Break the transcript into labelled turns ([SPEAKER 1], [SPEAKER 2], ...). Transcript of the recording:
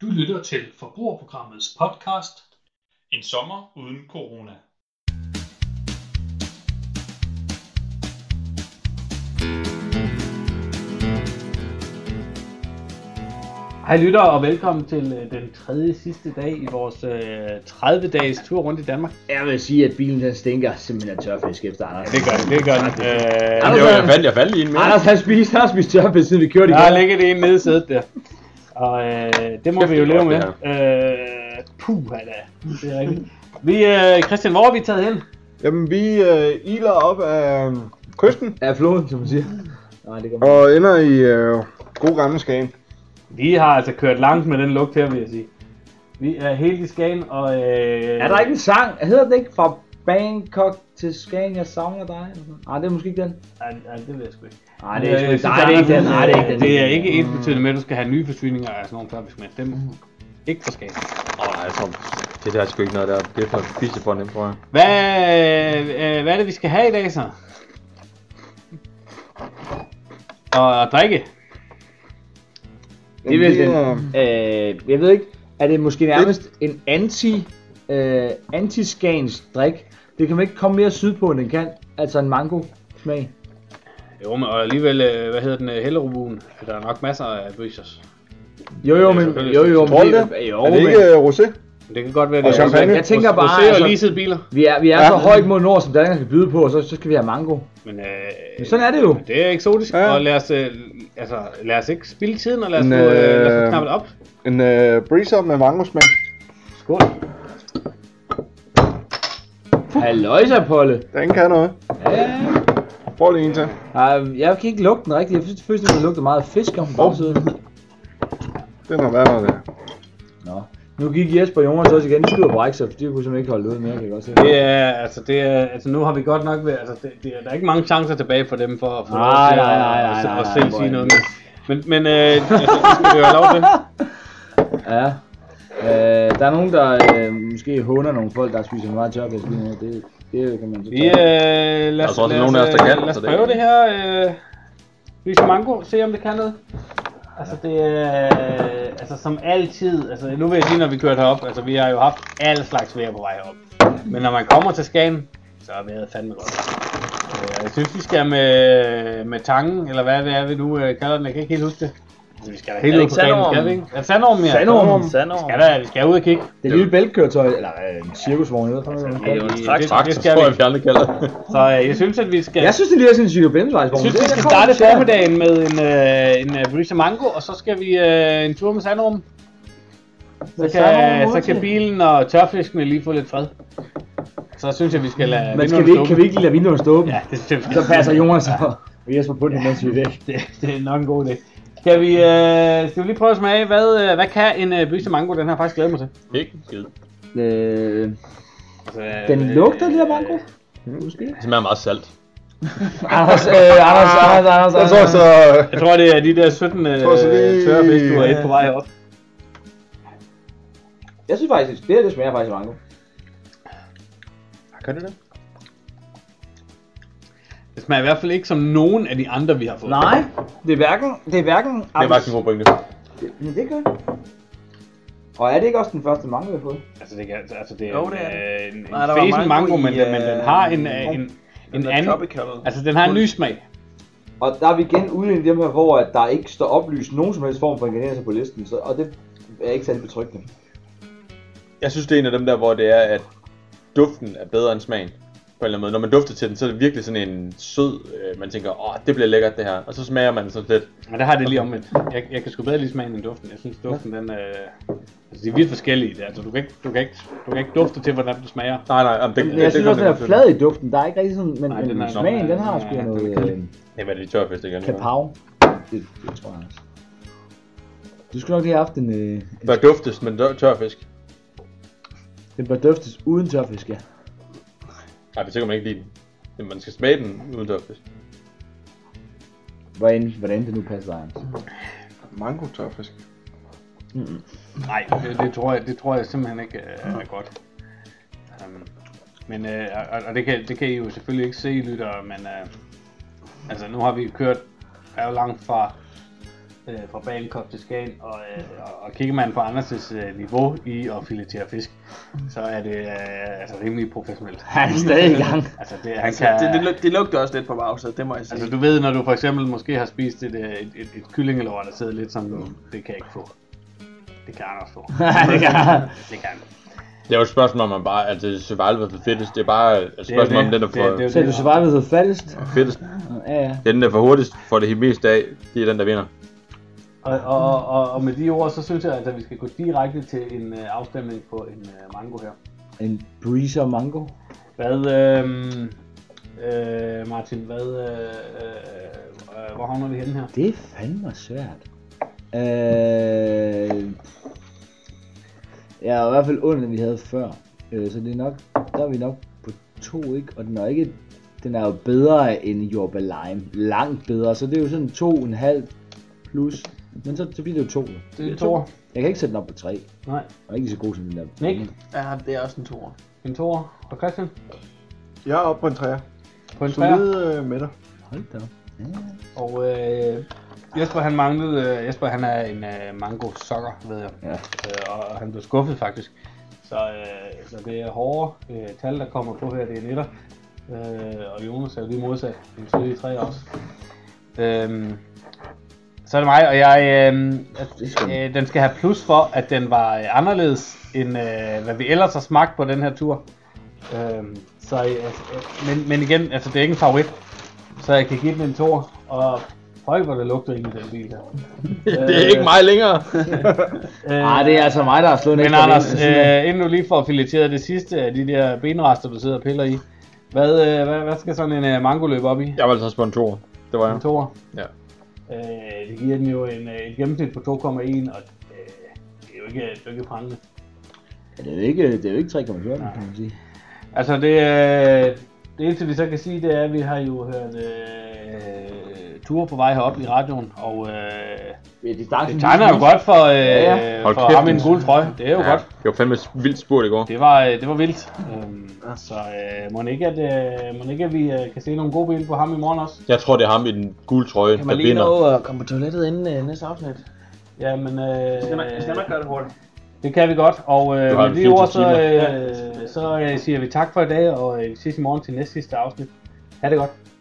[SPEAKER 1] lytter til Forbrugerprogrammets podcast En sommer uden corona.
[SPEAKER 2] Hej lytter og velkommen til øh, den tredje sidste dag i vores øh, 30-dages tur rundt i Danmark.
[SPEAKER 3] Jeg vil sige, at bilen den stinker simpelthen af tørfisk efter Anders.
[SPEAKER 4] Det gør den, det gør den. Øh,
[SPEAKER 3] Anders,
[SPEAKER 4] jo,
[SPEAKER 3] hvad-
[SPEAKER 4] jeg faldt, jeg faldt i en mere.
[SPEAKER 3] Anders han spiste, han spiste tørfisk, siden vi kørte
[SPEAKER 2] Der
[SPEAKER 3] igen.
[SPEAKER 2] har ligget en nede i sædet der. Og øh, det må
[SPEAKER 4] Kæft,
[SPEAKER 2] vi jo
[SPEAKER 4] det er
[SPEAKER 2] leve med.
[SPEAKER 4] godt,
[SPEAKER 2] Øh, puh, da. Det er rigtigt. Vi, øh, Christian, hvor er vi taget hen?
[SPEAKER 5] Jamen, vi øh, iler op af øhm, kysten
[SPEAKER 3] Af floden, som man siger. Nej, det gør man.
[SPEAKER 5] og ender i øh, god gamle Skagen.
[SPEAKER 2] Vi har altså kørt langt med den lugt her, vil jeg sige. Vi er helt i Skagen, og... Øh,
[SPEAKER 3] Er der ikke en sang? Hedder den ikke fra Bangkok til Skagen, jeg savner dig? eller sådan? Nej, det er måske ikke den.
[SPEAKER 2] Nej, nej, det ved jeg sgu ikke.
[SPEAKER 3] Nej, det er, sgu
[SPEAKER 2] Øh,
[SPEAKER 3] ikke-
[SPEAKER 2] så
[SPEAKER 3] nej, det er ikke den. Nej, det er ikke den.
[SPEAKER 2] Det er ikke ens betydende med, at du skal have nye forsyninger af sådan nogle tørfisk med. Dem ikke for Skagen.
[SPEAKER 4] Åh, jeg tror, det der er sgu ikke noget der. Det er for pisse for nemt, tror jeg.
[SPEAKER 2] Hvad, øh, hvad er det, vi skal have i dag så? Og, og drikke.
[SPEAKER 3] Det er vel den.
[SPEAKER 5] er,
[SPEAKER 3] Øh, jeg ved ikke, er det måske nærmest en anti, øh, anti-skans drik? Det kan man ikke komme mere sydpå, end den kan. Altså en mango smag.
[SPEAKER 2] Jo, men og alligevel, øh, hvad hedder den, øh, Hellerubuen? Der er nok masser af breezers.
[SPEAKER 3] Jo, jo,
[SPEAKER 2] Ja,
[SPEAKER 3] men...
[SPEAKER 2] selvfølgelig.
[SPEAKER 3] Jo, jo,
[SPEAKER 5] Tror
[SPEAKER 3] men...
[SPEAKER 5] du det?
[SPEAKER 3] Jo,
[SPEAKER 5] er det
[SPEAKER 3] men...
[SPEAKER 5] ikke øh, rosé?
[SPEAKER 2] Men Det kan godt være,
[SPEAKER 5] Og champagne?
[SPEAKER 3] Jeg tænker bare,
[SPEAKER 2] Rosé og
[SPEAKER 3] altså-
[SPEAKER 2] leasede biler.
[SPEAKER 3] Vi er, vi er
[SPEAKER 5] Ja.
[SPEAKER 3] så højt mod nord, som Danmark kan byde på, og så, så skal vi have mango.
[SPEAKER 2] Men, øh,
[SPEAKER 3] Men sådan er det jo.
[SPEAKER 2] Det er eksotisk, ja.
[SPEAKER 5] Ja.
[SPEAKER 2] og lad os, øh, altså, lad os ikke spilde tiden, og lad os, nu,
[SPEAKER 5] Men,
[SPEAKER 2] øh,
[SPEAKER 5] øh,
[SPEAKER 2] lad os nu knappe det op.
[SPEAKER 5] En øh, breezer med mangosmag.
[SPEAKER 2] Skål.
[SPEAKER 3] Halløjsa, Polle.
[SPEAKER 5] Den kan noget.
[SPEAKER 3] Ja.
[SPEAKER 5] Prøv lige en til.
[SPEAKER 3] Ej, jeg kan ikke lugte den rigtigt. Jeg synes, først, at den lugter meget af fisk om bagsiden.
[SPEAKER 5] Den har været der.
[SPEAKER 3] Nå. Nu gik Jesper og Jonas også igen. De skulle på Rexer, for de kunne simpelthen ikke holde ud mere, kan jeg godt se.
[SPEAKER 2] Det er, altså, det er, altså, nu har vi godt nok været, altså, det, det, er- der er ikke mange chancer tilbage for dem for at få
[SPEAKER 3] Nej,
[SPEAKER 2] lov til
[SPEAKER 3] nej,
[SPEAKER 2] at-
[SPEAKER 3] nej, nej,
[SPEAKER 2] at-
[SPEAKER 3] nej,
[SPEAKER 2] at
[SPEAKER 3] nej,
[SPEAKER 2] selv
[SPEAKER 3] hvor
[SPEAKER 2] sige
[SPEAKER 3] er
[SPEAKER 2] noget.
[SPEAKER 3] det.
[SPEAKER 2] Men, men, men øh, altså, det skal vi jo have lov til.
[SPEAKER 3] Ja. Øh, der er nogen, der øh, måske håner nogle folk, der spiser meget tørfisk lige nu. Det, det kan man så
[SPEAKER 2] Vi, øh, lad
[SPEAKER 4] Jeg
[SPEAKER 2] os,
[SPEAKER 4] tror også,
[SPEAKER 2] lad os,
[SPEAKER 4] nogen af os, der
[SPEAKER 2] øh,
[SPEAKER 4] kan,
[SPEAKER 2] lad os
[SPEAKER 4] så det-
[SPEAKER 2] prøve det her. Øh, Lyse Mango, se om det kan noget. Altså det er, altså som altid, altså nu vil jeg sige, når vi kørte herop, altså vi har jo haft alle slags vejr på vej herop. Men når man kommer til Skagen, så er vejret fandme godt. Øh, og Jeg synes, vi skal med, med tangen, eller hvad det er, vi nu øh, kalder den, jeg kan ikke helt huske det. Altså, vi skal da helt
[SPEAKER 6] Er det
[SPEAKER 2] ud på
[SPEAKER 6] ikke
[SPEAKER 2] banen,
[SPEAKER 6] sandormen?
[SPEAKER 2] skal vi ikke? Er det sandormen, ja?
[SPEAKER 3] Sandormen.
[SPEAKER 2] Vi
[SPEAKER 6] Sandorm.
[SPEAKER 2] skal, da, vi skal ud og kigge.
[SPEAKER 3] Det lille bæltkøretøj, eller øh, en cirkusvogn, eller sådan
[SPEAKER 6] Det er
[SPEAKER 3] noget.
[SPEAKER 6] jo en
[SPEAKER 2] Det-
[SPEAKER 6] straks
[SPEAKER 4] Traktor,
[SPEAKER 2] skal
[SPEAKER 4] tror
[SPEAKER 2] vi.
[SPEAKER 4] jeg, vi aldrig kalder det.
[SPEAKER 2] Så øh, jeg synes, at vi skal...
[SPEAKER 3] Jeg synes, det ligner sådan en
[SPEAKER 2] Jeg
[SPEAKER 3] cykelbindevejsvogn.
[SPEAKER 2] synes, vi skal starte formiddagen med en, øh, en øh, Brisa Mango, og så skal vi øh, en tur med Sandrum. Så kan, så kan bilen og tørfiskene lige få lidt fred. Så synes jeg, vi skal lade
[SPEAKER 3] Men
[SPEAKER 2] vinduerne
[SPEAKER 3] skal vi ikke,
[SPEAKER 2] stå
[SPEAKER 3] kan vi ikke lige lade vinduerne stå åbne?
[SPEAKER 2] åbne. Ja, det synes jeg, vi
[SPEAKER 3] Så
[SPEAKER 2] skal.
[SPEAKER 3] passer Jonas og og Jesper på den, mens vi er væk.
[SPEAKER 2] Det, det er nok en god idé. Skal vi, øh, skal vi lige prøve at smage, hvad, øh, hvad kan en øh, Brisa Mango, den har jeg faktisk glædet mig til.
[SPEAKER 4] Ikke en skid.
[SPEAKER 3] Øh,
[SPEAKER 2] Altså, øh,
[SPEAKER 3] den lugter lidt af mango.
[SPEAKER 4] Det smager meget salt.
[SPEAKER 3] Anders, øh, Anders, Anders, Anders,
[SPEAKER 5] Jeg tror
[SPEAKER 3] Anders.
[SPEAKER 5] så...
[SPEAKER 2] Jeg tror, det er de der 17 øh,
[SPEAKER 5] tror, så lige-
[SPEAKER 2] tørfisk, du har et på vej op.
[SPEAKER 3] Jeg synes faktisk, det her det smager faktisk af mango.
[SPEAKER 5] Kan det det?
[SPEAKER 2] Det smager i hvert fald ikke som nogen af de andre, vi har fået.
[SPEAKER 3] Nej, det er hverken... Det er hverken...
[SPEAKER 4] Det er faktisk en god pointe.
[SPEAKER 3] Men det gør Og er det ikke også den første mango, vi har fået?
[SPEAKER 2] Altså det, kan, altså det er
[SPEAKER 6] Jo,
[SPEAKER 2] en,
[SPEAKER 6] det er
[SPEAKER 2] øh, en, en
[SPEAKER 6] Nej, der var
[SPEAKER 2] fesen mango,
[SPEAKER 6] mango i,
[SPEAKER 2] men, den- men den har en, øh,
[SPEAKER 6] øh,
[SPEAKER 2] en, en
[SPEAKER 6] der
[SPEAKER 2] anden...
[SPEAKER 6] Tropical.
[SPEAKER 2] Altså den har en ny smag.
[SPEAKER 3] Og der er vi igen ude i dem her, hvor at der ikke står oplyst nogen som helst form for ingredienser på listen, så, og det er ikke særlig betryggende.
[SPEAKER 4] Jeg synes, det er en af dem der, hvor det er, at duften er bedre end smagen. På en eller anden måde. Når man dufter til den, så er det virkelig sådan en sød, øh, man tænker, åh, det bliver lækkert det her. Og så smager man sådan lidt.
[SPEAKER 2] Men der har det lige omvendt. Jeg, jeg kan sgu bedre lige smage den end duften. Jeg synes duften den... Øh, altså de er vidt forskellige. Altså du kan ikke, du kan ikke, du kan ikke dufte til, hvordan det smager.
[SPEAKER 4] Nej, nej, jamen, det,
[SPEAKER 3] Men jeg synes også, den er flad i duften. Der er ikke rigtig sådan... Men,
[SPEAKER 2] Nej,
[SPEAKER 3] Nej,
[SPEAKER 2] den
[SPEAKER 3] men
[SPEAKER 2] er-
[SPEAKER 3] smagen, den har
[SPEAKER 2] den er-
[SPEAKER 3] sgu
[SPEAKER 2] den er
[SPEAKER 3] noget
[SPEAKER 2] kedelig.
[SPEAKER 3] øh,
[SPEAKER 4] Det var det tørfisk igen.
[SPEAKER 3] kapav. Det, det tror jeg, Anders. Du skulle nok lige have haft en... Øh, en
[SPEAKER 4] Der duftes, men dør- tørfisk.
[SPEAKER 3] den bør duftes uden tørfisk, ja.
[SPEAKER 4] Nej, det kan man ikke lide den. Men man skal smage den uden tørfisk.
[SPEAKER 3] Hvordan, hvordan det nu passer dig, Anders.
[SPEAKER 5] Mango tørfisk.
[SPEAKER 2] Nej, det, det, tror, jeg, det tror jeg simpelthen ikke øh, er godt. Um, men, øh, og, og det, kan, det kan I jo selvfølgelig ikke se, lyttere, men øh, altså, nu har vi kørt er jo langt fra øh, fra Bangkok til Skagen, og, øh, og- og kigger man på Anders' øh, niveau i at filetere fisk, så er det øh, altså rimelig professionelt.
[SPEAKER 3] Han er stadig i gang.
[SPEAKER 2] Altså, det, han
[SPEAKER 6] Altså,
[SPEAKER 2] kan,
[SPEAKER 6] det, det, lug- det lugter også lidt på bagset, det må jeg sige.
[SPEAKER 2] altså, du ved, når du for eksempel måske har spist et, øh, et, et, et kyllingelår, der sidder lidt som, det kan jeg ikke få. Det kan Anders få.
[SPEAKER 3] det kan han.
[SPEAKER 2] Det kan han.
[SPEAKER 4] Det er jo et spørgsmål om, man bare, altså survival for fittest, det er bare et spørgsmål om den, der får
[SPEAKER 2] det,
[SPEAKER 3] Så du survivet hedder fattest.
[SPEAKER 4] fittest.
[SPEAKER 3] Ja, ja.
[SPEAKER 4] Det er den, der får hurtigst, får det mest af, det er den, der vinder.
[SPEAKER 2] Og, og, og, og med de ord, så synes jeg, altså, at vi skal gå direkte til en øh, afstemning på en øh, mango her.
[SPEAKER 3] En breezer mango.
[SPEAKER 2] Hvad, øh, øh, Martin, hvad, øh, øh, øh, hvor havner vi henne her?
[SPEAKER 3] Det er fandme svært. Øh... Jeg er i hvert fald under, vi havde før. Øh, så det er nok, der er vi nok på to, ikke? Og den er ikke, den er jo bedre end Jorba Lime. Langt bedre, så det er jo sådan to, en halv plus. Men så, så bliver det jo to. nu.
[SPEAKER 2] Det er en tor.
[SPEAKER 3] Jeg kan ikke sætte den op på tre.
[SPEAKER 2] Nej,
[SPEAKER 3] Jeg er ikke så god som den der.
[SPEAKER 2] Nick,
[SPEAKER 6] Ja, det er også en toer.
[SPEAKER 2] en tor. Og Christian,
[SPEAKER 5] Jeg er oppe på en træer.
[SPEAKER 2] på en træer.
[SPEAKER 5] Solid øh, med dig.
[SPEAKER 3] Hold da. op.
[SPEAKER 2] Og øh, Jesper, han manglede, øh, Jesper, han er en øh, mango sokker, ved jeg.
[SPEAKER 3] Ja.
[SPEAKER 2] Øh, og, og han blev skuffet faktisk. Så, øh, så det er hårde øh, tal, der kommer på her, det er netter. Øh, og Jonas er jo lige modsat, en tidlig tre også. Øhm, så er det mig, og jeg, øh, at, øh, den skal have plus for, at den var øh, anderledes, end øh, hvad vi ellers har smagt på den her tur. Øhm, så, øh, altså, øh, men, men igen, altså, det er ikke en favorit, så jeg kan give den en tor, og Høj, hvor det lugter ind i den bil der.
[SPEAKER 4] Det er ikke mig længere.
[SPEAKER 2] Øh,
[SPEAKER 3] Ah, det er altså mig, der har slået en
[SPEAKER 2] men
[SPEAKER 3] ekstra
[SPEAKER 2] Anders,
[SPEAKER 3] vind, altså.
[SPEAKER 2] øh, inden du lige får fileteret det sidste af de der benrester, du sidder og piller i, hvad, øh, hvad, hvad skal sådan en øh, mango løbe op i?
[SPEAKER 4] Jeg var altså også på en toer. Det var jeg.
[SPEAKER 2] En toer?
[SPEAKER 4] Ja.
[SPEAKER 2] Øh, det giver den jo en, øh, et gennemsnit på 2,1, og øh, det er jo ikke, det er jo ikke prangende.
[SPEAKER 3] Ja, Det er jo ikke, det er jo ikke 3,14, kan man sige.
[SPEAKER 2] Altså det, øh, det eneste vi så kan sige, det er, at vi har jo hørt øh, ture på vej herop i radioen, og øh,
[SPEAKER 3] Ja, det, starter
[SPEAKER 2] det tegner jo godt for, øh,
[SPEAKER 3] Ja,
[SPEAKER 2] ja,
[SPEAKER 3] ja.
[SPEAKER 2] ja.
[SPEAKER 4] Hold
[SPEAKER 2] for
[SPEAKER 4] kæft,
[SPEAKER 2] ham i en
[SPEAKER 4] Jens.
[SPEAKER 2] gul trøje. Det er jo ja. godt.
[SPEAKER 4] Det var fandme vildt spurgt i går.
[SPEAKER 2] Det var, øh, det var vildt. Øhm, Så øh, må ikke, at, øh, må ikke, at vi øh, kan se nogle gode billeder på ham i morgen også.
[SPEAKER 4] Jeg tror, det er ham i den gule trøje,
[SPEAKER 6] Kan
[SPEAKER 4] der
[SPEAKER 6] man lige
[SPEAKER 4] vinder.
[SPEAKER 6] nå at komme på toilettet inden øh, næste afsnit?
[SPEAKER 2] Ja, men øh,
[SPEAKER 6] gøre det hurtigt?
[SPEAKER 2] det kan vi godt. Og
[SPEAKER 4] Du
[SPEAKER 2] øh,
[SPEAKER 4] har
[SPEAKER 2] med
[SPEAKER 4] en
[SPEAKER 2] de ord, så,
[SPEAKER 4] 24 timer.
[SPEAKER 2] øh, så øh, siger vi tak for i dag, og øh, vi ses i morgen til næste sidste afsnit. Ha' det godt.